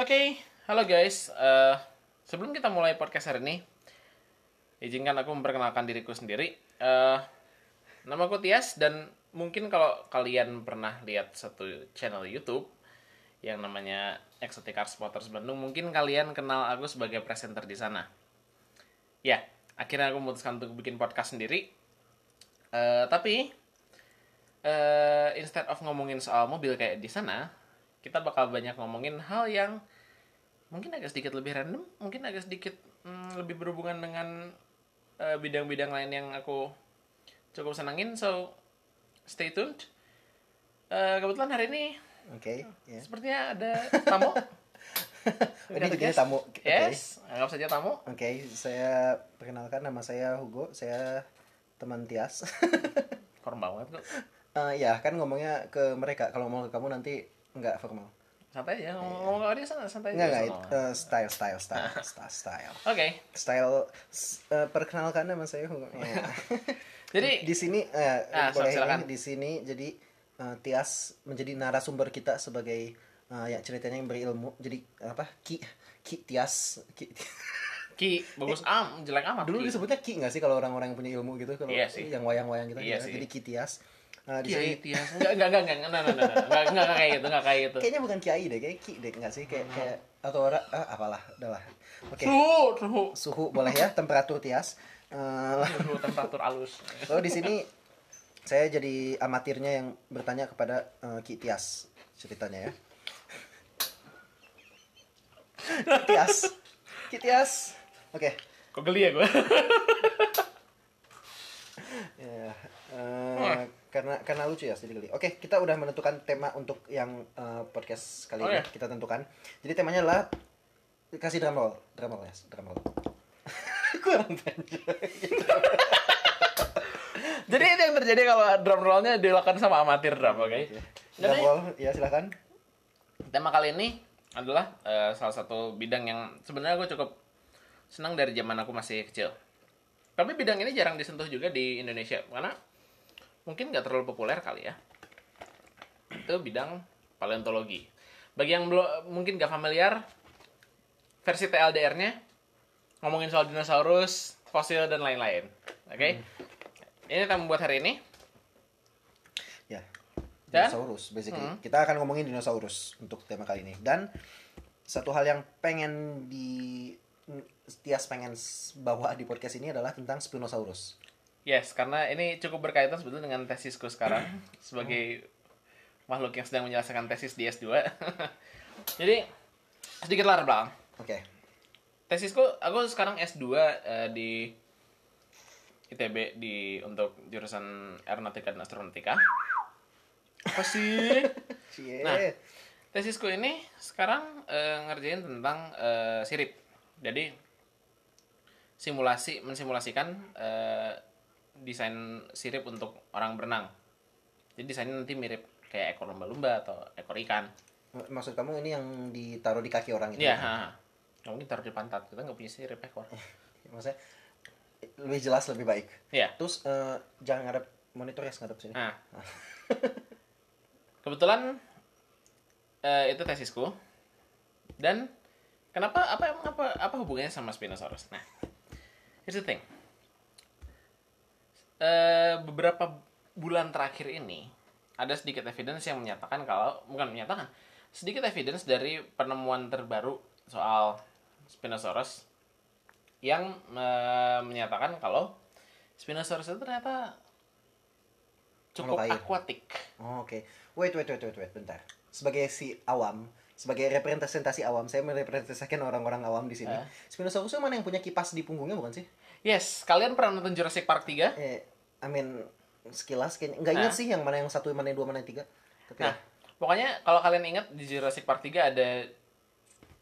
Oke, halo guys. Eh, sebelum kita mulai podcast hari ini, izinkan aku memperkenalkan diriku sendiri. Eh, nama aku Tias dan mungkin kalau kalian pernah lihat satu channel YouTube yang namanya Exotic Art Spotters Bandung, mungkin kalian kenal aku sebagai presenter di sana. Ya, akhirnya aku memutuskan untuk bikin podcast sendiri. Eh, tapi eh, instead of ngomongin soal mobil kayak di sana, kita bakal banyak ngomongin hal yang mungkin agak sedikit lebih random, mungkin agak sedikit mm, lebih berhubungan dengan eh, bidang-bidang lain yang aku cukup senangin. So stay tuned. Eh, kebetulan hari ini Iya. Oke, ya. sepertinya ada tamu. Oh, ini jadi tamu. Oke. Yes, anggap saja tamu. Oke, saya perkenalkan nama saya Hugo, saya teman Tias. Korban banget kok. Eh, ya, kan ngomongnya ke mereka. Kalau mau ke kamu nanti nggak formal. Santai aja, ngomong ngomong dia sana santai Iya. Nggak, aja. nggak. sama. it- eh, style, style, style, style, style. Oke, Style, s- eh, perkenalkan nama saya Hugo. Ya. jadi di sini, eh, Oh, iya. Ah, boleh silakan. ini, di sini, jadi eh, Tias menjadi narasumber kita sebagai eh, ya ceritanya yang berilmu. Jadi apa? Ki, Ki Tias, Ki, Ki bagus am, jelek amat. dulu Ki. disebutnya ki nggak sih kalau orang-orang yang punya ilmu gitu kalau Iya sih. yang wayang-wayang gitu Iya ya. sih. jadi kitias nah, di Kiai sini Tias. Enggak, enggak, enggak, enggak, enggak, enggak, enggak, enggak, enggak kayak gitu, enggak ya. kayak gitu. kayaknya bukan kiai deh kayak ki deh nggak sih kayak Hmm. kayak atau orang ah, apalah udahlah oke Suhu, suhu, suhu boleh ya temperatur tias Eh, suhu temperatur halus. lalu di sini saya jadi amatirnya yang bertanya kepada eh, ki tias ceritanya ya Ki tias ki tias oke Kok geli ya gue? Ya, eh, karena karena lucu ya sedikit. Oke, kita udah menentukan tema untuk yang eh, podcast kali Oh, ini ya? kita tentukan. Jadi temanya adalah kasih drum roll, drum roll ya, drum roll. Kurang panjang. Jadi itu yang terjadi kalau drum rollnya dilakukan sama amatir drum, oke? Drum Jadi roll, ya silakan. tema kali ini adalah eh, salah satu bidang yang sebenarnya gue cukup senang dari zaman aku masih kecil. Tapi bidang ini jarang disentuh juga di Indonesia karena mungkin nggak terlalu populer kali ya. Itu bidang paleontologi. Bagi yang belum mungkin nggak familiar, versi TLDR-nya ngomongin soal dinosaurus, fosil dan lain-lain. Oke? Ini kita membuat hari ini. Ya. Dan? Hmm. Dinosaurus basically. Kita akan ngomongin dinosaurus untuk tema kali ini dan satu hal yang pengen di Tias pengen s- bawa di podcast ini adalah tentang Spinosaurus. Yes, karena ini cukup berkaitan sebetulnya dengan tesisku sekarang sebagai makhluk yang sedang menyelesaikan tesis di S2. Jadi sedikit latar belakang. Oke. Nah. Tesisku aku sekarang S2 eh, di ITB di untuk jurusan Aeronautika dan Astronautika. Apa sih? Cie. Nah. Tesisku ini sekarang eh, ngerjain tentang eh, sirip. Jadi simulasi mensimulasikan eh, desain sirip untuk orang berenang. Jadi desainnya nanti mirip kayak ekor lumba-lumba atau ekor ikan. M- Maksud kamu ini yang ditaruh di kaki orang itu? Iya, ha, ha. Nggak mungkin taruh di pantat. Kita nggak punya sirip ekor. Maksudnya lebih jelas lebih baik. Iya. Terus eh, jangan ngadep monitor ya ngadep sini. Nah. Kebetulan eh, itu tesisku. Dan kenapa apa emang apa apa hubungannya sama Spinosaurus? Nah, here's the thing. Eh, beberapa bulan terakhir ini ada sedikit evidence yang menyatakan kalau bukan menyatakan sedikit evidence dari penemuan terbaru soal Spinosaurus yang eh, menyatakan kalau Spinosaurus itu ternyata cukup Makhluk air. akuatik. Oh, Oke. Wait wait wait wait wait bentar. Sebagai si awam, sebagai representasi awam, saya merepresentasikan orang-orang awam di sini. Eh. Spinosaurus itu mana yang punya kipas di punggungnya bukan sih? Yes, kalian pernah nonton Jurassic Park 3? Eh, I mean sekilas kayaknya nggak ingat Eh. sih yang mana yang satu, mana yang dua, mana yang tiga. Tapi ya, Nah, pokoknya kalau kalian ingat di Jurassic Park 3 ada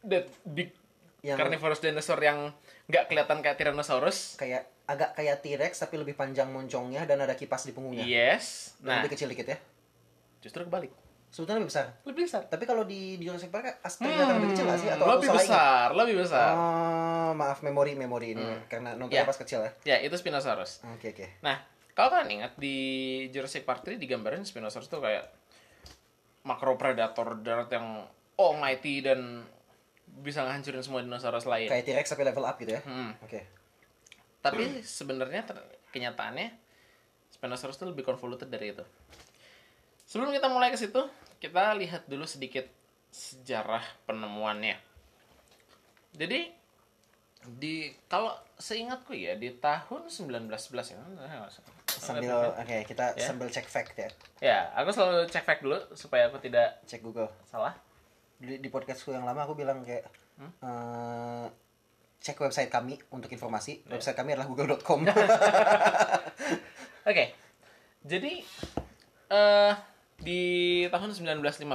that big Yang- carnivorous dinosaur yang nggak kelihatan kayak Tyrannosaurus. kayak agak kayak T-Rex tapi lebih panjang moncongnya dan ada kipas di punggungnya. Yes. Dan Nah, Iya. lebih kecil dikit ya. justru kebalik. Sebetulnya lebih besar. Lebih besar. Tapi kalau di di Jurassic Park aslinya kelihatan Iya, lebih kecil nggak sih? Atau aku Hmm. lebih salah ingat? besar, lebih besar. Oh, maaf memori memori ini karena nontonnya Ya. pas kecil ya. Ya, itu Spinosaurus. Oke oke. Nah, kalau kalian ingat di Jurassic Park 3 digambarin Spinosaurus tuh kayak makro predator darat yang almighty dan bisa ngancurin semua dinosaurus lain. Kayak T-Rex tapi level up gitu Iya. ya. Hmm. Oke. Tapi sebenarnya ter- kenyataannya Spinosaurus itu lebih convoluted dari itu. Sebelum kita mulai ke situ, kita lihat dulu sedikit sejarah penemuannya. Jadi di kalau seingatku ya di tahun 1911 ya. Sambil oke, kita Ya. sambil cek fact ya. Ya, aku selalu cek fact dulu supaya aku tidak Cek Google. salah. Di, di podcastku yang lama aku bilang kayak Hmm? eh, cek website kami untuk informasi. Ya. Website kami adalah google.com. Hmm, Oke. Jadi eh di tahun 1915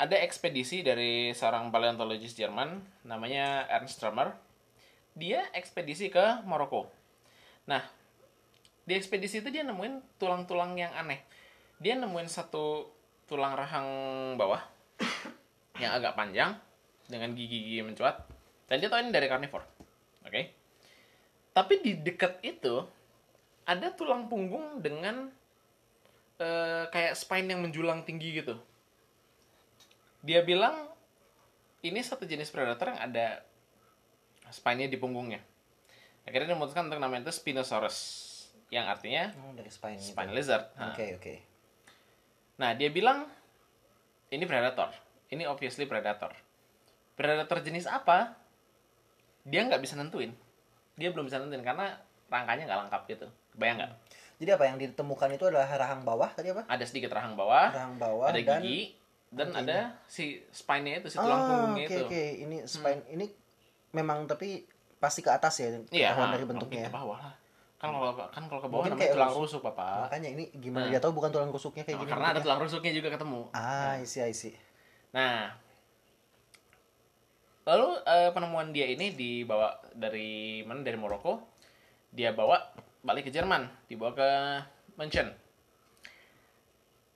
ada ekspedisi dari seorang paleontologis Jerman namanya Ernst Trömer. Dia ekspedisi ke Maroko. Nah, di ekspedisi itu dia nemuin tulang-tulang yang aneh. Dia nemuin satu tulang rahang bawah yang agak panjang dengan gigi-gigi mencuat. Dan dia tahu ini dari karnivor. Oke. Tapi di dekat itu ada tulang punggung dengan eh, kayak spine yang menjulang tinggi gitu. Dia bilang ini satu jenis predator yang ada spine-nya di punggungnya. Akhirnya dia memutuskan untuk namanya itu Spinosaurus, yang artinya Oh, dari spine. gitu. spine lizard. Nah, Oke, oke. Nah, dia bilang ini predator. Ini obviously predator. Predator jenis apa? Dia nggak bisa nentuin. Dia belum bisa nentuin karena rangkanya nggak lengkap gitu. Bayang nggak? Jadi apa yang ditemukan itu adalah rahang bawah tadi apa? Ada sedikit rahang bawah, Rahang ada bawah dan gigi, dan Oke. ada si spine-nya itu, si Ah, tulang punggungnya oke itu. Hmm. oke. Ini spine ini memang tapi pasti ke atas ya ah, ketahuan dari bentuknya. ya. Mungkin ke bawah lah. Kan kalau kan kalau ke bawah Mungkin namanya kayak tulang rusuk. rusuk, Bapak. Makanya ini gimana Nah. dia tahu bukan tulang rusuknya kayak Nah, gini. karena ada bentuknya? tulang rusuknya juga ketemu. Ah, isi isi. Nah, lalu eh, penemuan dia ini dibawa dari mana? Dari Maroko. Dia bawa balik ke Jerman, dibawa ke München.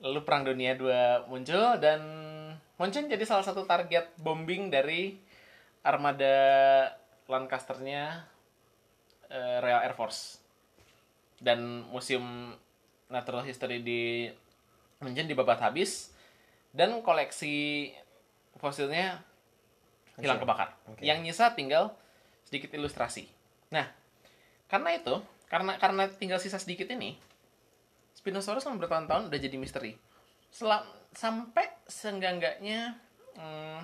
Lalu Perang Dunia II muncul dan München jadi salah satu target bombing dari armada Lancaster-nya eh, Royal Air Force. Dan Museum Natural History di München dibabat habis dan koleksi fosilnya hilang kebakar. Oke. Yang nyisa tinggal sedikit ilustrasi. Nah, karena itu, karena karena tinggal sisa sedikit ini, Spinosaurus selama bertahun-tahun udah jadi misteri. Selam, sampai sengganggaknya hmm,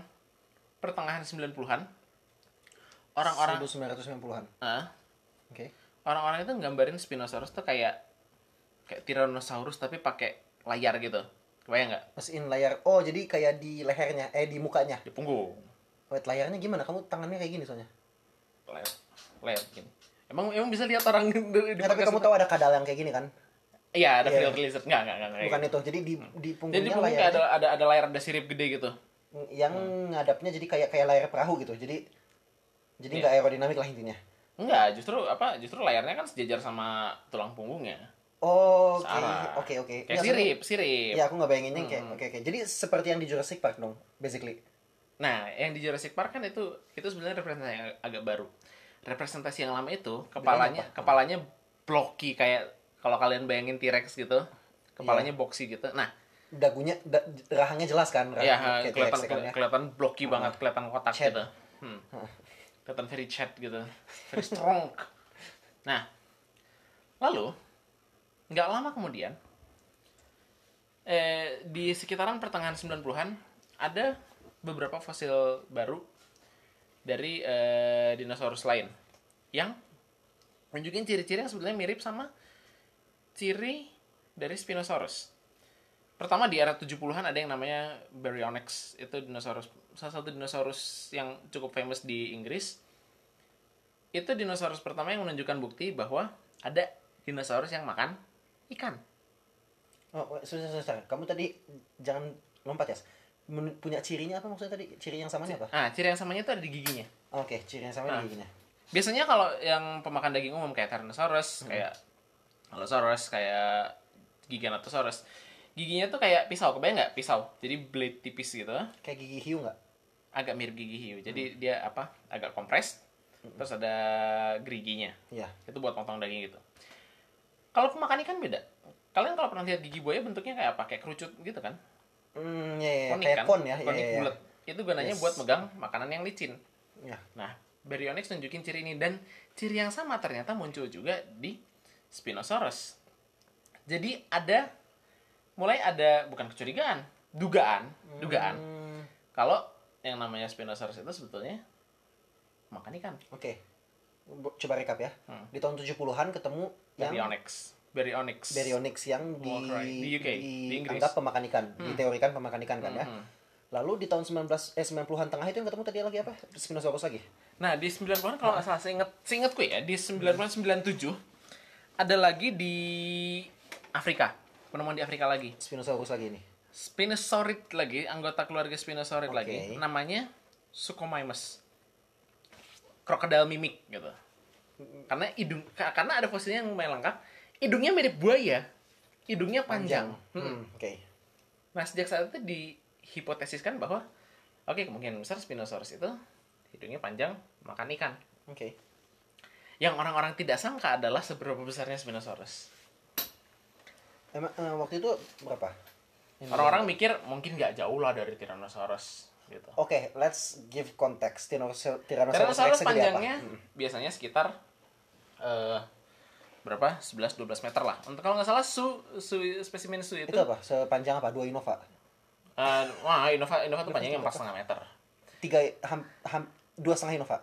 pertengahan 90-an, orang-orang 1990-an. ah, Oke. orang-orang itu nggambarin Spinosaurus tuh kayak kayak Tyrannosaurus tapi pakai layar gitu. Kebayang nggak? Pas in layar. Oh, jadi kayak di lehernya eh di mukanya. Di punggung. Wait, layarnya gimana? Kamu tangannya kayak gini soalnya. layar layar gini. Emang emang bisa lihat orang di, di Nah, tapi kamu tahu ada kadal yang kayak gini kan? Iya, ada Iya. filter lizard. Enggak, enggak, enggak. Bukan itu. Jadi di gitu. di Hmm. Jadi di punggungnya punggungnya layar ada Hmm. ada ada layar ada sirip gede gitu. yang ngadapnya jadi kayak kayak layar perahu gitu. Jadi jadi Iya. nggak aerodinamik lah intinya. Enggak, justru apa? Justru layarnya kan sejajar sama tulang punggungnya. Oh, Oke, Sarah. oke, oke. Kayak Nggak, sirip, Hmm. sirip. Ya aku nggak bayanginnya kayak oke oke. Jadi seperti yang di Jurassic Park dong, basically. Nah, yang di Jurassic Park kan itu itu sebenarnya representasi yang agak baru. Representasi yang lama itu kepalanya kepalanya blocky kayak kalau kalian bayangin T-Rex gitu, kepalanya Iya. boxy gitu. Nah, Dagunya da- rahangnya jelas kan? ya Rahang, kayak kelihatan T-Rex kan ya. kelihatan blocky banget, kelihatan kotak Chat. gitu. Hmm. Kelihatan very chat gitu. Very strong. nah, lalu nggak lama kemudian eh, di sekitaran pertengahan 90-an ada beberapa fosil baru dari eh, dinosaurus lain yang nunjukin ciri-ciri yang sebenarnya mirip sama ciri dari Spinosaurus. Pertama di era 70-an ada yang namanya Baryonyx, itu dinosaurus salah satu dinosaurus yang cukup famous di Inggris. Itu dinosaurus pertama yang menunjukkan bukti bahwa ada dinosaurus yang makan ikan. Oh, wait, sebentar, sebentar, sebentar. Kamu tadi jangan lompat ya. Men- punya cirinya apa maksudnya tadi? Ciri yang samanya apa? Nah, ciri yang samanya itu ada di giginya. Oh, Oke, ciri yang sama Ah. di giginya. Biasanya kalau yang pemakan daging umum kayak Tyrannosaurus, kayak Allosaurus, kayak Giganotosaurus, giginya tuh kayak pisau, kebayang nggak pisau? Jadi blade tipis gitu. Kayak gigi hiu nggak? agak mirip gigi hiu. Hmm. Jadi dia apa? Agak kompres. Terus ada geriginya. Iya. Itu buat potong daging gitu. Kalau pemakan ikan beda. Kalian kalau pernah lihat gigi buaya bentuknya kayak apa? Kayak kerucut gitu kan? Hmm, ya, ya, ya. Konik kayak kan? kon ya. ya, Konik ya, ya. bulat. itu gunanya Yes. buat megang makanan yang licin. Ya. Nah, Baryonyx nunjukin ciri ini dan ciri yang sama ternyata muncul juga di Spinosaurus. Jadi ada mulai ada bukan kecurigaan, dugaan, dugaan Hmm, kalau yang namanya Spinosaurus itu sebetulnya makan ikan. Oke. Bu- Coba rekap ya. Hmm. Di tahun 70-an ketemu yang Baryonyx. Baryonyx. Baryonyx yang di, Walcry. Oh, Di UK, di Inggris. dianggap pemakan ikan, diteorikan pemakan ikan kan ya. Hmm. Lalu di tahun 19 eh 90-an tengah itu yang ketemu tadi lagi apa? Spinosaurus lagi. Nah, di 90-an kalau nggak salah seinget, seingetku ya, di 1997 ada lagi di Afrika. Penemuan di Afrika lagi. Spinosaurus lagi ini. Spinosaurid lagi, anggota keluarga Spinosaurid Oke. lagi. Namanya Suchomimus. Crocodile mimic gitu. Karena hidung ka- karena ada fosilnya yang lumayan lengkap, hidungnya mirip buaya. Hidungnya panjang. Hmm, Oke. Nah, sejak saat itu dihipotesiskan bahwa oke, kemungkinan besar Spinosaurus itu hidungnya panjang, makan ikan. Oke. Yang orang-orang tidak sangka adalah seberapa besarnya Spinosaurus. Emang eh, waktu itu berapa? Ini- Orang-orang mikir mungkin nggak jauh lah dari Tyrannosaurus gitu. Oke, let's give context. Tyrannosaur- Tyrannosaurus, Tyrannosaurus Rex segede apa? Hmm. panjangnya biasanya sekitar eh berapa? 11-12 meter lah. Untuk kalau nggak salah su, su spesimen su itu, Itu apa? Sepanjang apa? Dua Innova. eh, wah Innova Innova tuh panjangnya empat setengah meter. Tiga ham, ham, dua setengah Innova.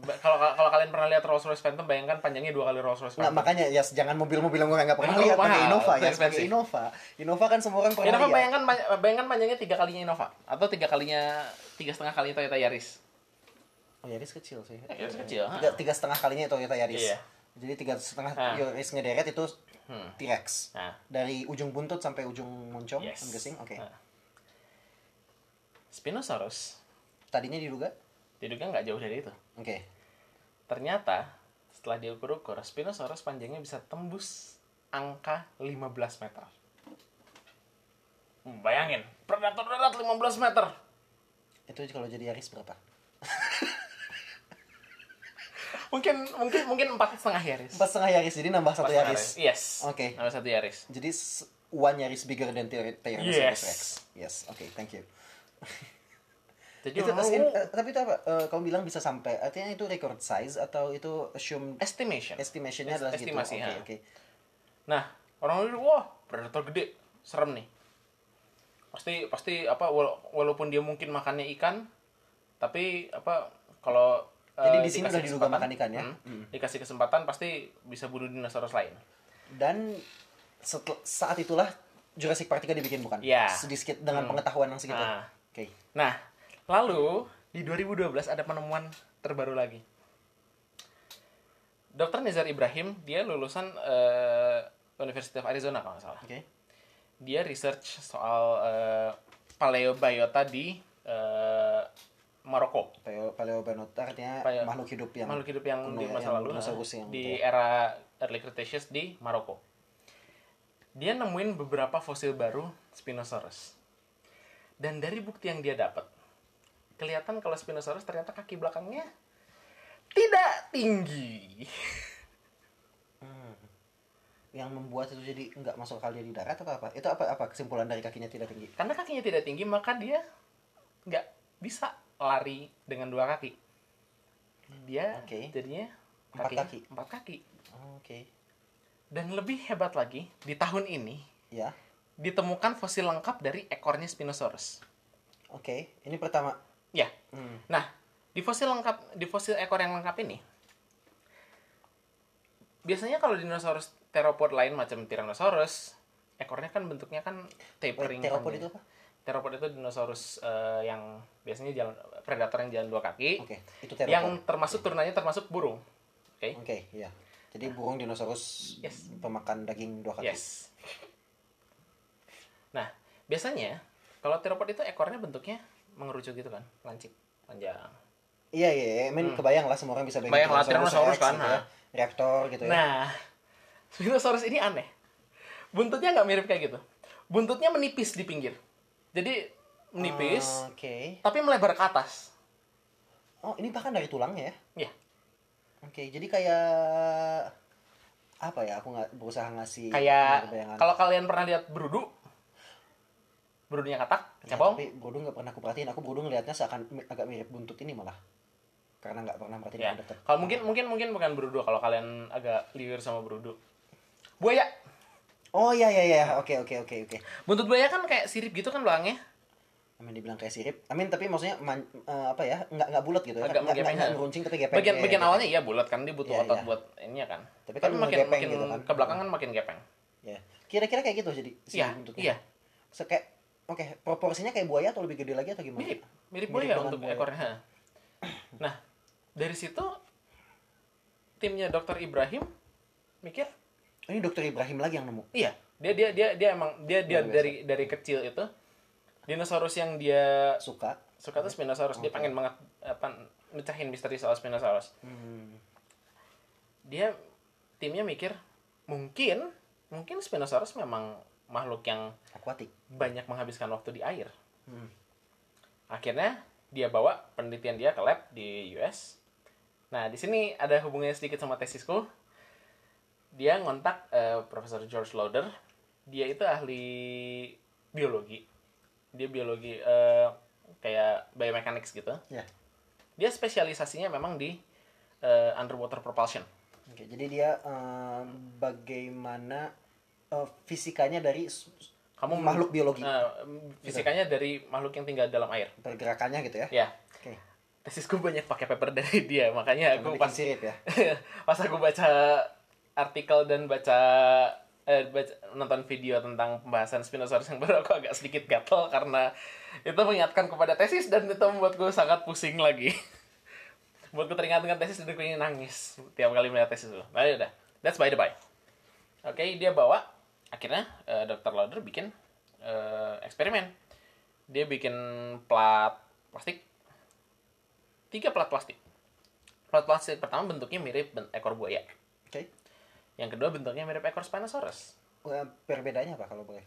Ba- Kalau kalau kalian pernah lihat Rolls Royce Phantom, bayangkan panjangnya dua kali Rolls Royce Nah, Phantom. makanya ya jangan mobil-mobil yang gue nggak pernah Mahal, lihat pakai mahal. Innova ya, Expensive. pakai Innova. Innova kan semua orang pernah Innova lihat. bayangkan pa- bayangkan panjangnya tiga kalinya Innova atau tiga kalinya tiga setengah kali Toyota Yaris. Oh, Yaris kecil sih. Ya, Yaris kecil, Tiga, ha. tiga setengah kalinya Toyota Yaris. Iya. Jadi tiga setengah Ha. Yaris ngederet itu Hmm. T-Rex. Nah, Dari ujung buntut sampai ujung moncong, Yes. Ah. I'm guessing. Oke. Ha. Spinosaurus Tadinya diduga? diduga nggak jauh dari itu. Oke. Ternyata setelah diukur-ukur, Spinosaurus panjangnya bisa tembus angka 15 meter. Hmm, Bayangin, predator darat 15 meter. Itu kalau jadi Yaris berapa? Mungkin mungkin mungkin empat setengah Yaris. Empat setengah Yaris, jadi nambah Empat satu setengah Yaris. Yes. Oke. Nama satu Yaris. Jadi s- one Yaris bigger than Tyr- Tyrannosaurus Yes. Rex. Yes. Oke, thank you. Jadi Itu, orang as in, mau- eh, tapi itu apa? Eh, kamu bilang bisa sampai. Artinya itu record size atau itu assumed estimation. Es- estimationnya adalah estimasi, gitu. Oke, ha. oke. Nah, orang dulu wah, predator gede, serem nih. Pasti pasti apa wala- walaupun dia mungkin makannya ikan, tapi apa kalau eh, Jadi di dikasih sini udah diduga kesempatan, makan ikan, ya? hmm, dikasih kesempatan pasti bisa bunuh dinosaurus lain. Dan setel- saat itulah Jurassic Park 3 dibikin bukan? Iya. Sedikit dengan pengetahuan yang segitu. Nah. Oke. Nah, lalu di 2012 ada penemuan terbaru lagi. Dr. Nizar Ibrahim, dia lulusan eh, University of Arizona kalau nggak salah. Oke. dia research soal eh, paleobiota di eh, Maroko Paleo Paleobenot artinya Paleo- makhluk hidup yang makhluk hidup yang kuno di ya, masa yang lalu dinosaurus eh, yang di gitu era early Cretaceous di Maroko dia nemuin beberapa fosil baru Spinosaurus dan dari bukti yang dia dapat kelihatan kalau Spinosaurus ternyata kaki belakangnya tidak tinggi yang membuat itu jadi nggak masuk akal dia di darat atau apa? Itu apa apa kesimpulan dari kakinya tidak tinggi? karena kakinya tidak tinggi maka dia nggak bisa lari dengan dua kaki dia Oke. jadinya Empat kakinya kaki. empat kaki Oh, Oke. dan lebih hebat lagi di tahun ini Ya. ditemukan fosil lengkap dari ekornya Spinosaurus Oke. Ini pertama. ya Hmm. nah di fosil lengkap di fosil ekor yang lengkap ini biasanya kalau dinosaurus teropod lain macam Tyrannosaurus ekornya kan bentuknya kan tapering kan Wait, teropod panjang. itu apa? Teropod itu dinosaurus eh, yang biasanya jalan predator yang jalan dua kaki. Oke. Itu teropod. Yang termasuk turunannya termasuk burung. Oke. Oke, iya. Jadi burung dinosaurus Yes. pemakan daging dua kaki. Yes. Nah, biasanya kalau teropod itu ekornya bentuknya mengerucut gitu kan, lancip, panjang. Iya, iya, iya. I mean, Hmm. kebayang lah semua orang bisa Bayang lah, Tyrannosaurus Rex kan, gitu ya. Reaktor gitu ya. Nah, Spinosaurus ini aneh. Buntutnya nggak mirip kayak gitu. Buntutnya menipis di pinggir. Jadi menipis, Ah, Oke. tapi melebar ke atas. Oh, ini bahkan dari tulangnya ya. Ya, Oke, jadi kayak apa ya? Aku nggak berusaha ngasih kayak bayangan. kalau kalian pernah lihat berudu, Broodingnya katak, Iya. Ya, capong. tapi Brodo nggak pernah aku perhatiin. Aku Brodo ngelihatnya seakan mi- agak mirip buntut ini malah. Karena nggak pernah merhatiin Ya. yang dekat. Kalau mungkin mungkin mungkin bukan berudu kalau kalian agak liar sama berudu. Buaya. Oh iya iya iya. Oke oke oke oke. Buntut buaya kan kayak sirip gitu kan Iya, luangnya. Amin dibilang kayak sirip. Amin tapi maksudnya man- eh, apa ya? Nggak nggak bulat gitu ya. Agak Nggak- nggak menggepeng. nggak ngeruncing tapi gepeng. Bagian Iya, bagian iya, awalnya iya bulat kan dia butuh Iya, otot iya. buat ininya kan. Tapi, Tapi kan makin ngegepeng makin gitu kan. ke belakang kan makin gepeng. Iya. Kira-kira kayak gitu jadi si Iya, iya. So, kayak oke, proporsinya kayak buaya atau lebih gede lagi atau gimana? Mirip, mirip Mirip buaya dengan untuk buaya. ekornya. Nah, dari situ timnya Dokter Ibrahim mikir, Ini dokter Ibrahim lagi yang nemu. iya, dia dia dia dia emang dia dia Luar biasa. dari dari kecil itu dinosaurus yang dia Suka. suka tuh Spinosaurus dia pengen banget apa mecahin misteri soal Spinosaurus Hmm. dia timnya mikir mungkin mungkin Spinosaurus memang makhluk yang Akuatik. banyak menghabiskan waktu di air Hmm. akhirnya dia bawa penelitian dia ke lab di US nah di sini ada hubungannya sedikit sama tesisku dia ngontak eh, Profesor George Lauder dia itu ahli biologi dia biologi eh, kayak biomechanics gitu Ya. dia spesialisasinya memang di eh, underwater propulsion. Oke, jadi dia eh, bagaimana eh, fisikanya dari s- s- Kamu makhluk biologi eh, fisikanya dari makhluk yang tinggal dalam air. pergerakannya gitu ya. Ya, Oke. tesisku banyak pakai paper dari dia, makanya Karena aku bikin pas sirip ya. pas aku baca artikel dan baca eh, baca- nonton video tentang pembahasan Spinosaurus yang baru aku agak sedikit gatel karena itu mengingatkan kepada tesis dan itu membuatku sangat pusing lagi. Buatku teringat dengan tesis dan aku ingin nangis tiap kali melihat tesis itu. Nah, udah. That's by the by. Oke, dia bawa akhirnya eh, Dr. Lauder bikin eh, eksperimen. Dia bikin plat plastik. Tiga plat plastik. Plat plastik pertama bentuknya mirip ben- ekor buaya. Oke. Yang kedua bentuknya mirip ekor Spinosaurus. Eh, perbedaannya apa kalau boleh?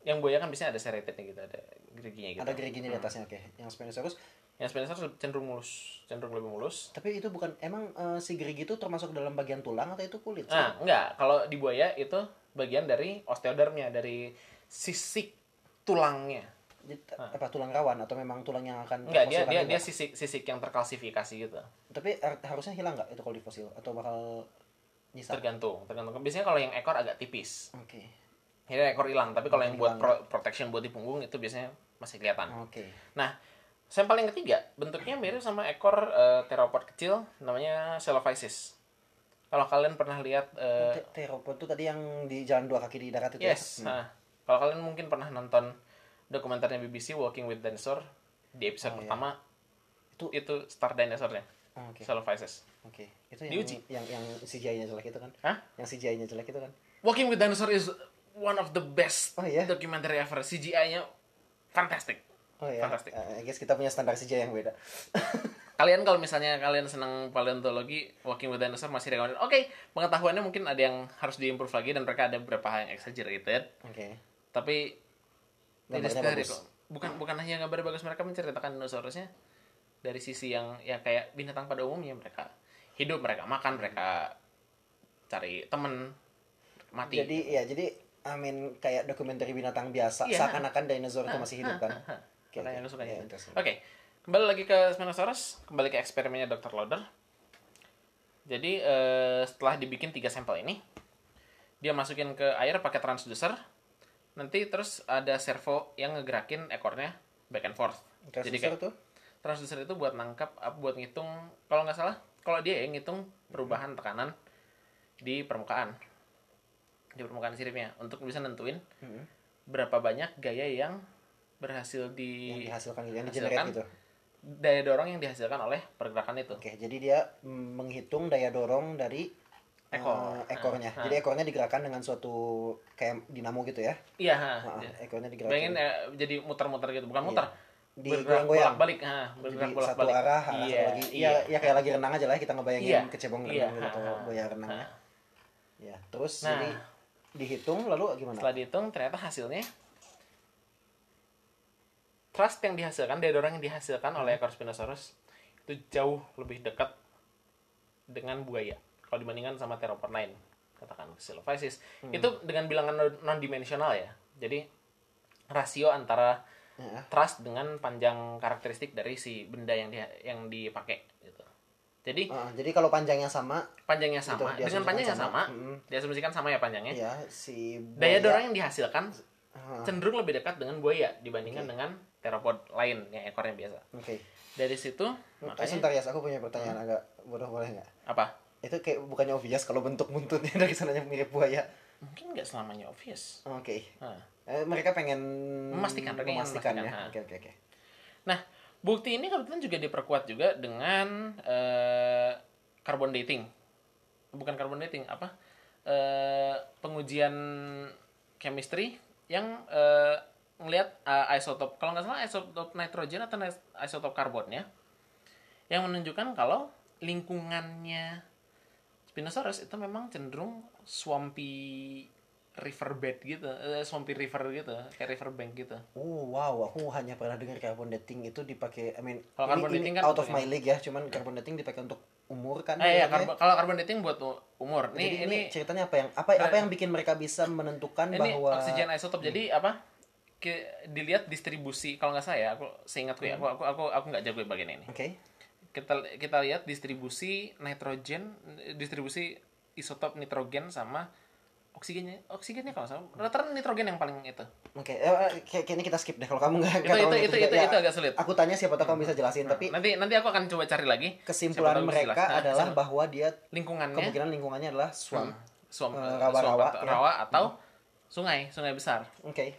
Yang buaya kan biasanya ada serratednya gitu, ada geriginya gitu. Ada geriginya di atasnya, oke. Yang Spinosaurus. Yang Spinosaurus cenderung mulus, cenderung lebih mulus. Tapi itu bukan emang eh, si gerigi itu termasuk dalam bagian tulang atau itu kulit? sih? Nah, enggak. Kalau di buaya itu bagian dari osteodermnya, dari sisik tulangnya. Jadi, apa tulang rawan atau memang tulang yang akan Ah. Enggak, dia fosilkan dia juga? dia sisik sisik yang terkalsifikasi gitu. tapi har- harusnya hilang nggak itu kalau di fosil atau bakal nyisa oke Tergantung, tergantung. Biasanya kalau yang ekor agak tipis. Jadi ekor hilang, tapi kalau yang buat pro- protection buat di punggung itu biasanya masih kelihatan. oke Nah, sampel yang ketiga bentuknya mirip sama ekor eh, theropod kecil namanya Celephysis. Kalau kalian pernah lihat eh, Te- teropod itu tadi yang di jalan dua kaki di darat itu yes, ya? Hmm. nah, kalau kalian mungkin pernah nonton dokumenternya BBC Walking with Dinosaur di episode Oh, iya. pertama itu Itu- itu star dinosaurnya Oh, oke Celephysis. oke itu yang Diuji. yang yang CGI-nya jelek itu kan Hah? yang CGI-nya jelek itu kan Walking with Dinosaur is one of the best Oh, iya? documentary ever. CGI-nya fantastic. oh ya Fantastic. Eh, I guess kita punya standar CGI yang beda Kalian kalau misalnya kalian senang paleontologi, Walking with Dinosaur masih recommended. Oke, pengetahuannya mungkin ada yang harus diimprove lagi dan mereka ada beberapa hal yang exaggerated. oke Tapi it is Gambarnya there, bagus. kok. bukan bukan hanya gambar bagus mereka menceritakan dinosaurusnya dari sisi yang ya kayak binatang pada umumnya mereka hidup mereka makan mereka cari temen mati jadi ya jadi amin kayak dokumenter binatang biasa Iya. seakan-akan dinosaur itu masih hidup kan Hah, Oke, orang oke. yang suka Ya, gitu. interesting. Oke, kembali lagi ke Spinosaurus, kembali ke eksperimennya Dr. Lauder. Jadi eh, setelah dibikin tiga sampel ini, dia masukin ke air pakai transducer. Nanti terus ada servo yang ngegerakin ekornya back and forth. Jadi Transducer kayak tuh transducer itu buat nangkap, ap- buat ngitung, kalau nggak salah, kalau dia ya ngitung perubahan tekanan di permukaan, di permukaan siripnya, untuk bisa nentuin Mhm. berapa banyak gaya yang berhasil yang di dihasilkan gitu yang di Hasilkan. generate gitu daya dorong yang dihasilkan oleh pergerakan itu. Oke, jadi dia mm, menghitung daya dorong dari Ekor. eh, ekornya. Nah, Jadi ekornya digerakkan dengan suatu kayak dinamo gitu ya. Iya, ha. Nah, ekornya digerakkan. Bayangin eh, jadi muter-muter gitu, bukan Iya. muter. bergerak digoyang-goyang. bolak-balik, ha, bergerak Jadi satu bolak-balik. arah, arah Iya, satu lagi. iya. Iya, ya kayak lagi renang aja lah kita ngebayangin Iya. kecebong Iya, renang gitu atau ha, ha, boya renang ya. ha. Ya, terus Nah. jadi dihitung lalu gimana? Setelah dihitung ternyata hasilnya thrust yang dihasilkan, daya dorong yang dihasilkan oleh Hmm. ekor Spinosaurus itu jauh lebih dekat dengan buaya kalau dibandingkan sama theropod lain Hmm. katakan Xylophysis itu dengan bilangan non- non-dimensional ya jadi rasio antara Ya. trust dengan panjang karakteristik dari si benda yang dia yang dipakai gitu. Jadi Ah, jadi kalau panjangnya sama, panjangnya Gitu, sama dengan diasumsikan panjangnya sama. sama, Mm. diasumsikan sama ya panjangnya. ya si Daya buaya- dorong yang dihasilkan Ah, cenderung lebih dekat dengan buaya dibandingkan dengan teropod lain yang ekornya biasa. Oke. Dari situ Eh, makanya Sebentar ya, aku punya pertanyaan agak bodoh boleh nggak? apa? Itu kayak bukannya obvious kalau bentuk buntutnya dari sananya mirip buaya. Mungkin nggak selamanya obvious. Oke. Nah. Eh, mereka pengen Memastikan, mereka ingin memastikan ya. memastikan, ha. Oke oke oke. Nah, bukti ini kebetulan juga diperkuat juga dengan eh, carbon dating. Bukan carbon dating, apa? Eh, pengujian chemistry yang eh, melihat eh, isotop, kalau nggak salah isotop nitrogen atau nis- isotop karbonnya, ya, yang menunjukkan kalau lingkungannya Spinosaurus itu memang cenderung swampy riverbed gitu, eh, swampy river gitu, kayak riverbank gitu. Oh, wow, aku hanya pernah dengar carbon dating itu dipakai I mean Kalau carbon ini, dating ini kan out of untuk my league ya, cuman carbon dating dipakai untuk umur kan. Eh, iya, biasanya. karbo- kalau carbon dating buat u- umur. Nih, Jadi ini, ini Nah. ceritanya apa yang apa apa yang bikin mereka bisa menentukan ini, bahwa Hmm. oksigen isotop. Jadi apa? Ke, dilihat distribusi kalau nggak saya, aku seingatku ya, aku Hmm. aku aku aku nggak jago bagian ini. Oke. Kita kita lihat distribusi nitrogen, distribusi isotop nitrogen sama oksigennya. Oksigennya kalau sama rata-rata nitrogen yang paling itu. Oke, eh, eh, kayak- kayaknya kita skip deh kalau kamu nggak Itu itu nggak terlalu itu ngerti itu, juga. itu Ya, agak sulit. Aku tanya siapa tahu kamu bisa jelasin, tapi Nanti nanti aku akan coba cari lagi Siapa kesimpulan tahu bisa mereka jelas. Nah, adalah siapa- bahwa dia lingkungannya hmm, kemungkinan lingkungannya adalah swamp. suam, eh, suam rawa-rawa, atau- ya. rawa atau sungai, sungai besar. Oke.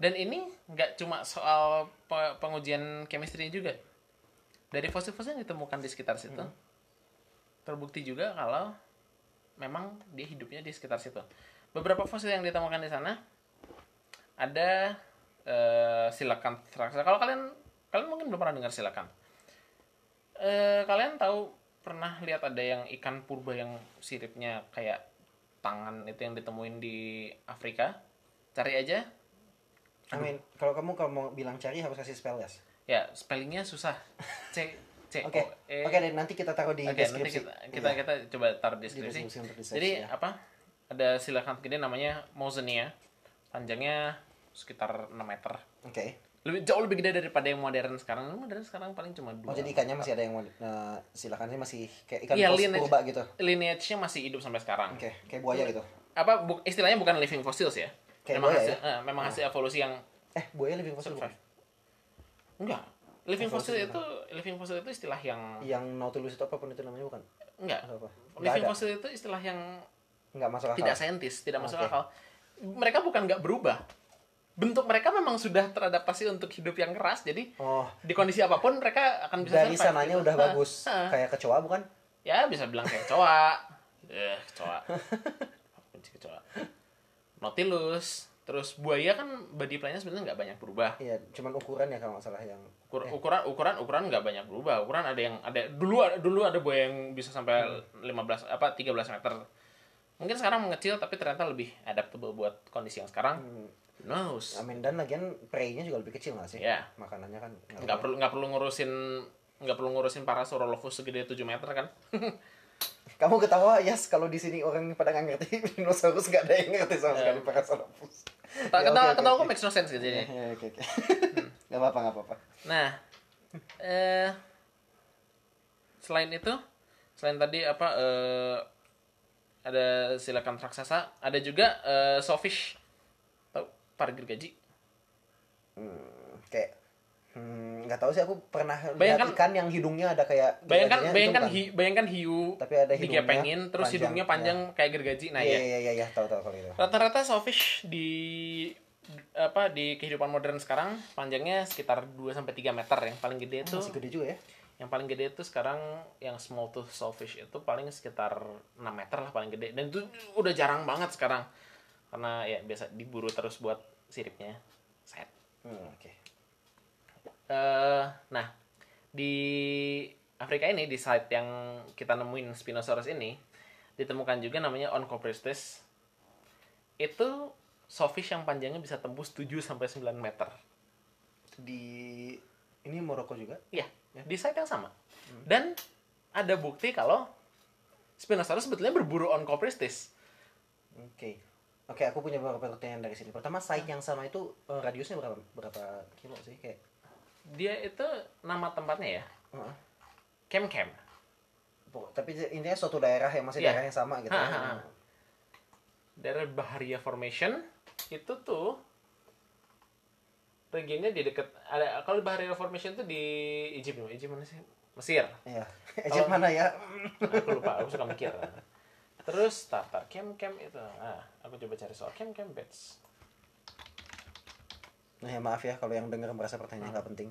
Dan ini nggak cuma soal pe- pengujian chemistry juga. Dari fosil-fosil yang ditemukan di sekitar situ, terbukti juga kalau memang dia hidupnya di sekitar situ. Beberapa fosil yang ditemukan di sana ada eh silakanthrax. Kalau kalian kalian mungkin belum pernah dengar silakan. Eh, kalian tahu pernah lihat ada yang ikan purba yang siripnya kayak tangan itu yang ditemuin di Afrika? Cari aja I mean, kalau kamu kalau mau bilang cari harus kasih spell list. ya spellingnya susah C C Oke. O E Oke, deh, nanti kita taruh di Oke, nanti deskripsi. kita kita, Iya, kita coba taruh di deskripsi deskripsi untuk research, jadi ya. apa ada silakan gede namanya Mausonia panjangnya sekitar 6 meter Oke. lebih jauh lebih gede daripada yang modern sekarang Yang modern sekarang paling cuma dua Oh, jadi ikannya masih ada yang mau eh, silakan ini masih kayak ikan Iya, paus lineage. purba gitu. lineage-nya masih hidup sampai sekarang Oke, kayak buaya Iya. gitu. apa bu- istilahnya bukan living fossils ya Kayak Iya. memang buaya hasil eh, memang hasil evolusi yang Eh, buaya lebih masuk survive enggak living fossil itu living fossil itu istilah yang Yang Nautilus itu apapun itu namanya bukan? enggak Atau apa? Nggak living ada. fossil itu istilah yang Enggak masuk akal. tidak saintis, tidak masuk Oke. akal. Mereka bukan nggak berubah. Bentuk mereka memang sudah teradaptasi untuk hidup yang keras, jadi Oh, di kondisi apapun mereka akan bisa dari survive, sananya gitu. udah Nah, bagus. nah. Kayak kecoa bukan? Ya bisa bilang kayak kecoa, eh kecoa, Aku benci kecoa, nautilus, terus buaya kan body plan-nya sebenarnya nggak banyak berubah. Iya, cuman ukuran ya kalau nggak salah yang Ukur- ukuran ukuran ukuran nggak banyak berubah ukuran ada yang ada dulu ada dulu ada buaya yang bisa sampai Hmm. 15 apa 13 meter mungkin sekarang mengecil tapi ternyata lebih adaptable buat kondisi yang sekarang Who knows I mean, dan lagian prey-nya juga lebih kecil nggak sih? Iya. Makanannya kan nggak nggak perlu nggak perlu ngurusin nggak perlu ngurusin parasaurolophus segede 7 meter kan Kamu ketawa, yes, kalau di sini orang pada nggak ngerti dinosaurus nggak ada yang ngerti sama sekali Parasaurolophus. Iya. Tak Ya, ketawa oke, oke, ketawa kok oke. makes no sense gitu Ya, ya. ya, Oke, oke. Nggak apa-apa, nggak apa-apa. Nah, eh, selain itu, selain tadi apa eh, ada silakan raksasa, ada juga eh, sawfish, tau pargir gaji. Hmm, kayak hmm, nggak tahu sih aku pernah Bayangkan- lihat ikan yang hidungnya ada kayak gitu kan? gergajinya, Bayangkan itu bayangkan bukan? hi- bayangkan hiu Tapi ada hidungnya digepengin terus panjang, hidungnya panjang kayak gergaji. Nah, Iya, ya. iya, iya, iya, tahu tahu kalau itu. Rata-rata sawfish di apa di kehidupan modern sekarang panjangnya sekitar 2 sampai 3 meter yang paling gede itu Masih gede juga ya. yang paling gede itu sekarang yang small tooth sawfish itu paling sekitar 6 meter lah paling gede dan itu udah jarang banget sekarang karena ya biasa diburu terus buat siripnya set Hmm, oke. eh nah di Afrika ini di site yang kita nemuin Spinosaurus ini ditemukan juga namanya Onchopristis itu sawfish yang panjangnya bisa tembus 7 sampai 9 meter Di ini Maroko juga. Iya, di site yang sama. Dan ada bukti kalau Spinosaurus sebetulnya berburu Onchopristis. Oke. Oke, aku punya beberapa pertanyaan dari sini. Pertama, site yang sama itu eh, radiusnya berapa berapa kilo sih kayak? Dia itu nama tempatnya ya. Heeh. Camp Camp. Pokok- tapi intinya suatu daerah yang masih Iya. daerah yang sama gitu. Ha, ha, ha. Daerah Bahariya Formation itu tuh regionnya di dekat ada kalau Bahariya Formation tuh di Egypt, Egypt mana sih? Mesir. Nah, Iya. Ejek mana ya? aku lupa aku suka mikir terus tata camp camp itu ah aku coba cari soal camp camp beds Nah, ya, maaf ya kalau yang dengar merasa pertanyaannya nggak penting.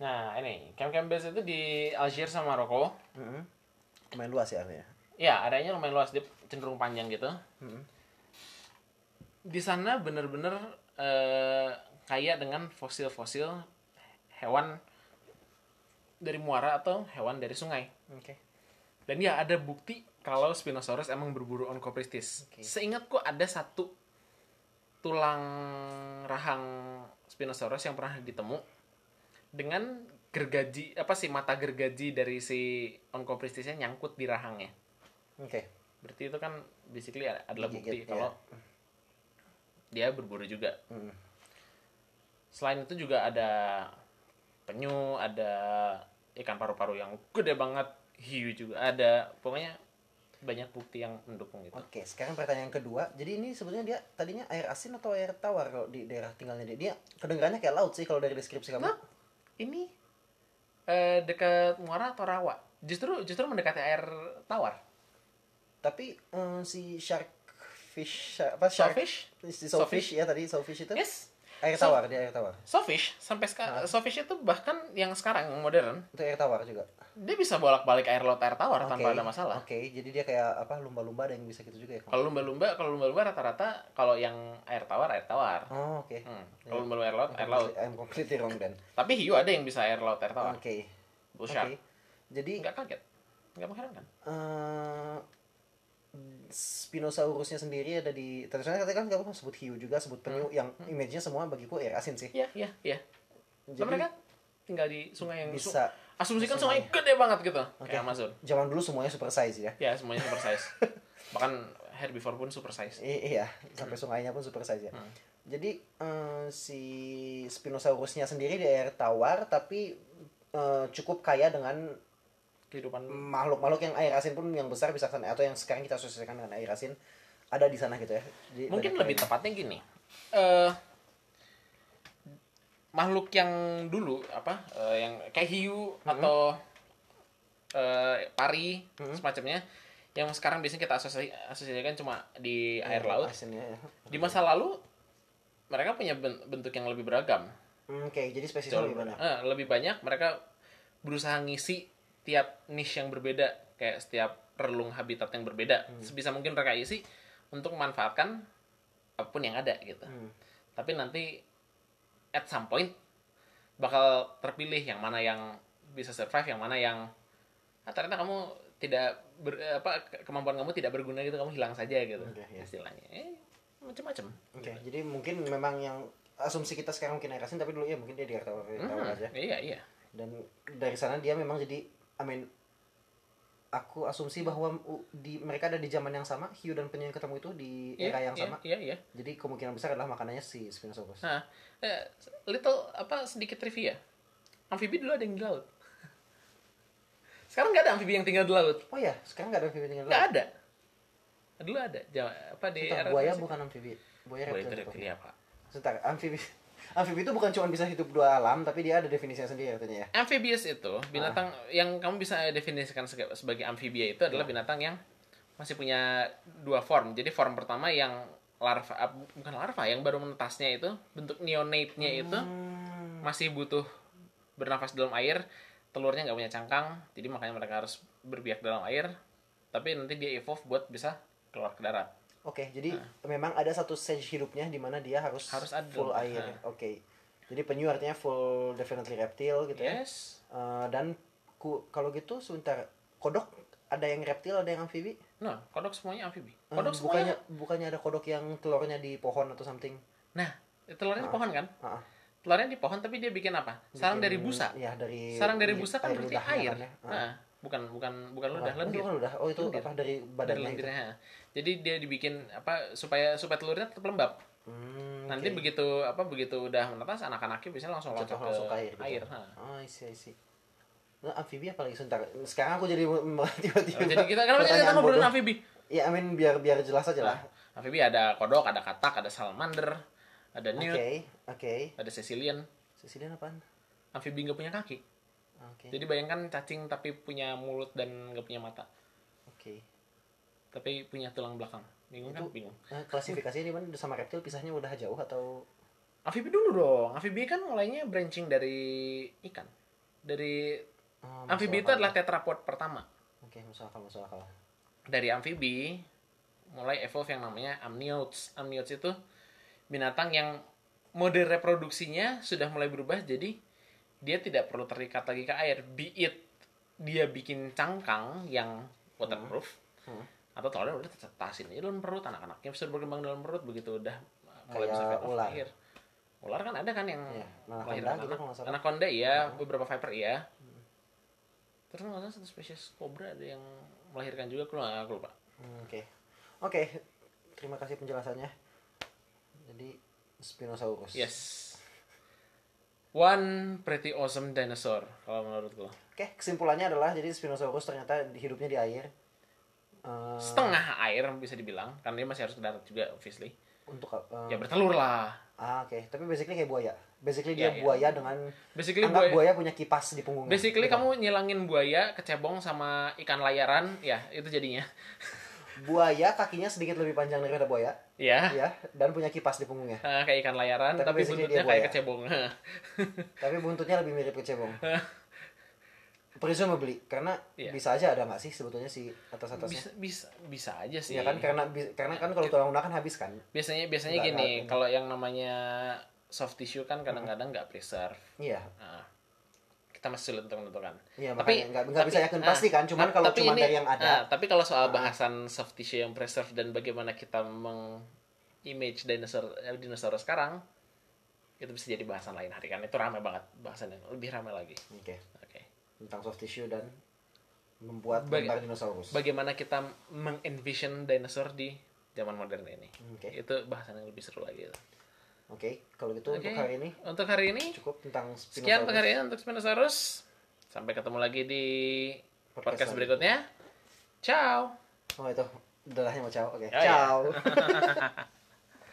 nah ini camp camp beds itu di Algiers sama Maroko Heeh. Lumayan luas ya artinya. ya areanya lumayan luas dia cenderung panjang gitu Mm-mm. di sana bener-bener eh, kaya dengan fosil-fosil hewan dari muara atau hewan dari sungai Oke. dan ya ada bukti kalau Spinosaurus emang berburu Onchopristis. Oke. Seingatku ada satu tulang rahang Spinosaurus yang pernah ditemu dengan gergaji apa sih mata gergaji dari si Onchopristisnya nyangkut di rahangnya. Oke. Berarti itu kan basically ad- adalah bukti Digigit, ya. kalau dia berburu juga. Mm. Selain itu juga ada penyu, ada ikan paru-paru yang gede banget, hiu juga ada. Pokoknya banyak bukti yang mendukung itu. Oke, sekarang pertanyaan kedua. Jadi ini sebetulnya dia tadinya air asin atau air tawar kalau di daerah tinggalnya dia? Dia kedengarannya kayak laut sih kalau dari deskripsi kamu. Nah, ini eh, dekat muara atau rawa? Justru justru mendekati air tawar. Tapi eh, si shark fish apa shark Sawfish? si sawfish ya tadi sawfish itu Yes. air Saw- tawar dia air tawar. Sawfish sampai sekarang sawfish itu bahkan yang sekarang yang modern, Itu air tawar juga. dia bisa bolak-balik air laut air tawar tanpa Oke. ada masalah. Oke, jadi dia kayak apa lumba-lumba ada yang bisa gitu juga ya. Kang? Kalau lumba-lumba, kalau lumba-lumba rata-rata kalau yang air tawar air tawar. Oh, oke. Hmm. Kalau lumba-lumba air laut air laut. I'm completely wrong then. Tapi hiu ada yang bisa air laut air tawar. Oke. Oh, Oke. Bull shark. Jadi Nggak kaget. Nggak mengherankan. eh Spinosaurusnya sendiri ada di tradisional katanya kan kamu sebut hiu juga sebut Hmm. penyu yang image-nya semua bagiku air asin sih. Iya, iya, iya. Jadi Jadi, mereka tinggal di sungai yang su- bisa asumsikan sungai. sungai gede banget gitu. Kayak Amazon. zaman dulu semuanya super size ya. Ya, semuanya super size. Bahkan herbivore pun super size. I- iya, sampai Hmm. sungainya pun super size ya. Jadi eh, si Spinosaurusnya sendiri di air tawar tapi eh, cukup kaya dengan Kehidupan makhluk-makhluk yang air asin pun yang besar bisa kesana atau yang sekarang kita asosiasikan dengan air asin ada di sana gitu ya. Jadi mungkin banyak lebih yang- tepatnya gini. Eh makhluk yang dulu apa eh, yang kayak hiu atau eh, pari semacamnya yang sekarang biasanya kita asosiasi- asosiasikan cuma di air laut asinnya ya. di masa lalu mereka punya ben- bentuk yang lebih beragam Hmm, Oke, jadi spesiesnya Jauh lebih banyak. lebih- eh, lebih banyak mereka berusaha ngisi tiap niche yang berbeda kayak setiap relung habitat yang berbeda Hmm. sebisa mungkin mereka isi untuk memanfaatkan apapun yang ada gitu Hmm. tapi nanti at some point bakal terpilih yang mana yang bisa survive yang mana yang ah, ternyata kamu tidak ber, apa ke- kemampuan kamu tidak berguna gitu kamu hilang saja gitu Oke, ya. istilahnya eh, macam-macam Oke, jadi mungkin memang yang asumsi kita sekarang mungkin air asin tapi dulu ya mungkin dia di air tawar, air tawar Hmm, aja. iya iya Dan dari sana dia memang jadi I mean aku asumsi bahwa u- di mereka ada di zaman yang sama, hiu dan penyu yang ketemu itu di Iya, era yang iya, sama. iya iya Jadi kemungkinan besar adalah makanannya si Spinosaurus. Nah, eh, little apa sedikit trivia. Amfibi dulu ada yang di laut. Sekarang nggak ada amfibi yang tinggal di laut. Oh ya, sekarang nggak ada amfibi tinggal di Nggak laut. ada. iya, Dulu ada. Jawa, apa di Bentar, era buaya Jurassic. bukan amfibi. Buaya Buaya itu reptil. iya. bukan? reptilia, Pak. Sebentar, amfibi amfibi itu bukan cuma bisa hidup dua alam, tapi dia ada definisinya sendiri artinya ya. Amphibious itu binatang yang kamu bisa definisikan sega- sebagai amfibia itu adalah binatang yang masih punya dua form. Jadi form pertama yang larva ah, bu- bukan larva yang baru menetasnya itu bentuk neonate-nya itu Hmm, masih butuh bernafas dalam air telurnya nggak punya cangkang jadi makanya mereka harus berbiak dalam air tapi nanti dia evolve buat bisa keluar ke darat Oke, jadi memang ada satu stage hidupnya di mana dia harus, Nah. Harus Nah. ada. full air. Oke. Jadi penyu artinya full definitely reptil gitu Iya. ya. yes Eh, dan ku, kalau gitu sebentar kodok ada yang reptil ada yang amfibi no kodok semuanya amfibi Eh, kodok semuanya bukannya bukannya ada kodok yang telurnya di pohon atau something nah telurnya di pohon kan Ah, ah. telurnya di pohon tapi dia bikin apa sarang dari busa ya dari sarang dari busa kan air berarti ludahnya air kan ya. Ah. Nah, bukan bukan bukan ludah Bukan, lendir bukan udah. Oh itu Lendir. apa dari dari badannya gitu? itu. lendirnya jadi dia dibikin apa supaya supaya telurnya tetap lembab Hmm, nanti oke. begitu apa begitu udah menetas anak-anaknya biasanya langsung loncat Jatuh langsung ke ke air. Gitu. air ha. Oh, isi isi. Nah, amfibi apalagi sebentar. Sekarang aku jadi m- m- tiba-tiba. Oh, jadi kita kenapa sih kita pertanyaan ngobrolin bodoh. amfibi Ya, I mean biar biar jelas aja lah. amfibi ada kodok ada katak ada salamander ada Oke, newt oke. ada Sicilian Sicilian apaan? amfibi nggak punya kaki Iya. Oke. jadi bayangkan cacing tapi punya mulut dan nggak punya mata Oke. tapi punya tulang belakang bingung kan Itu- bingung Nah, klasifikasinya di mana sama reptil pisahnya udah jauh atau amfibi dulu dong amfibi kan mulainya branching dari ikan dari Oh, masuk amfibi itu akal. adalah tetrapod pertama Oke, masuk akal, masuk akal. dari amfibi mulai evolve yang namanya amniotes. Amniotes itu binatang yang mode reproduksinya sudah mulai berubah jadi dia tidak perlu terikat lagi ke air. Be it dia bikin cangkang yang waterproof Hmm. atau telurnya udah tertasin aja dalam perut anak-anaknya sudah berkembang dalam perut begitu udah mulai Kayak bisa cut off ular. air. Ular kan ada kan yang Iya, anaconda melahirkan gitu anak. kalau nggak salah. Anaconda iya, beberapa viper iya. Terus nggak salah satu spesies kobra ada yang melahirkan juga, aku nggak aku lupa. Hmm, Oke. Oke. Terima kasih penjelasannya. Jadi Spinosaurus. Yes. One pretty awesome dinosaur kalau menurut lo. Oke, kesimpulannya adalah jadi Spinosaurus ternyata hidupnya di air. Eh, Setengah air bisa dibilang, karena dia masih harus ke darat juga obviously. untuk Ya eh, bertelur lah. ah, oke, tapi basically kayak buaya. Basically Iya, iya. dia buaya dengan Basically anggap buaya, buaya punya kipas di punggungnya. basically Gitu. kamu nyilangin buaya, kecebong sama ikan layaran, ya itu jadinya. buaya kakinya sedikit lebih panjang daripada buaya, ya. ya, dan punya kipas di punggungnya. Eh, kayak ikan layaran Iya. Tapi tapi, basically buntutnya kayak dia buaya. kecebong. Tapi buntutnya lebih mirip kecebong. Presumably karena Iya. bisa aja ada nggak sih sebetulnya si atas-atasnya. bisa bisa bisa aja sih. Nah, Iya kan karena bi- karena kan kalau tulang lunak kan habis kan. biasanya biasanya Nggak, gini, nggak. kalau yang namanya soft tissue kan kadang-kadang nggak preserve. Iya. Nah, kita masih sulit untuk menentukan. Iya, Tapi- makanya nggak nggak bisa tapi- yakin ah, pasti kan, cuman tap- kalau tapi cuma ini- dari yang ah, ada. tapi kalau soal bahasan soft tissue yang preserve dan bagaimana kita meng image dinosaur eh, dinosaurus sekarang itu bisa jadi bahasan lain hari kan itu ramai banget bahasan yang lebih ramai lagi. Oke. Oke. Tentang soft tissue dan membuat Baga- gambar dinosaurus. Bagaimana kita meng-envision dinosaur di zaman modern ini. Oke. Itu bahasan yang lebih seru lagi. itu. Oke, kalau gitu untuk Oke. hari ini Untuk hari ini cukup tentang sekian untuk Spinosaurus. hari ini untuk Spinosaurus. Sampai ketemu lagi di Podcast podcast berikutnya. Ciao. Oh itu, dalahnya mau ciao. Oke, iya. ciao.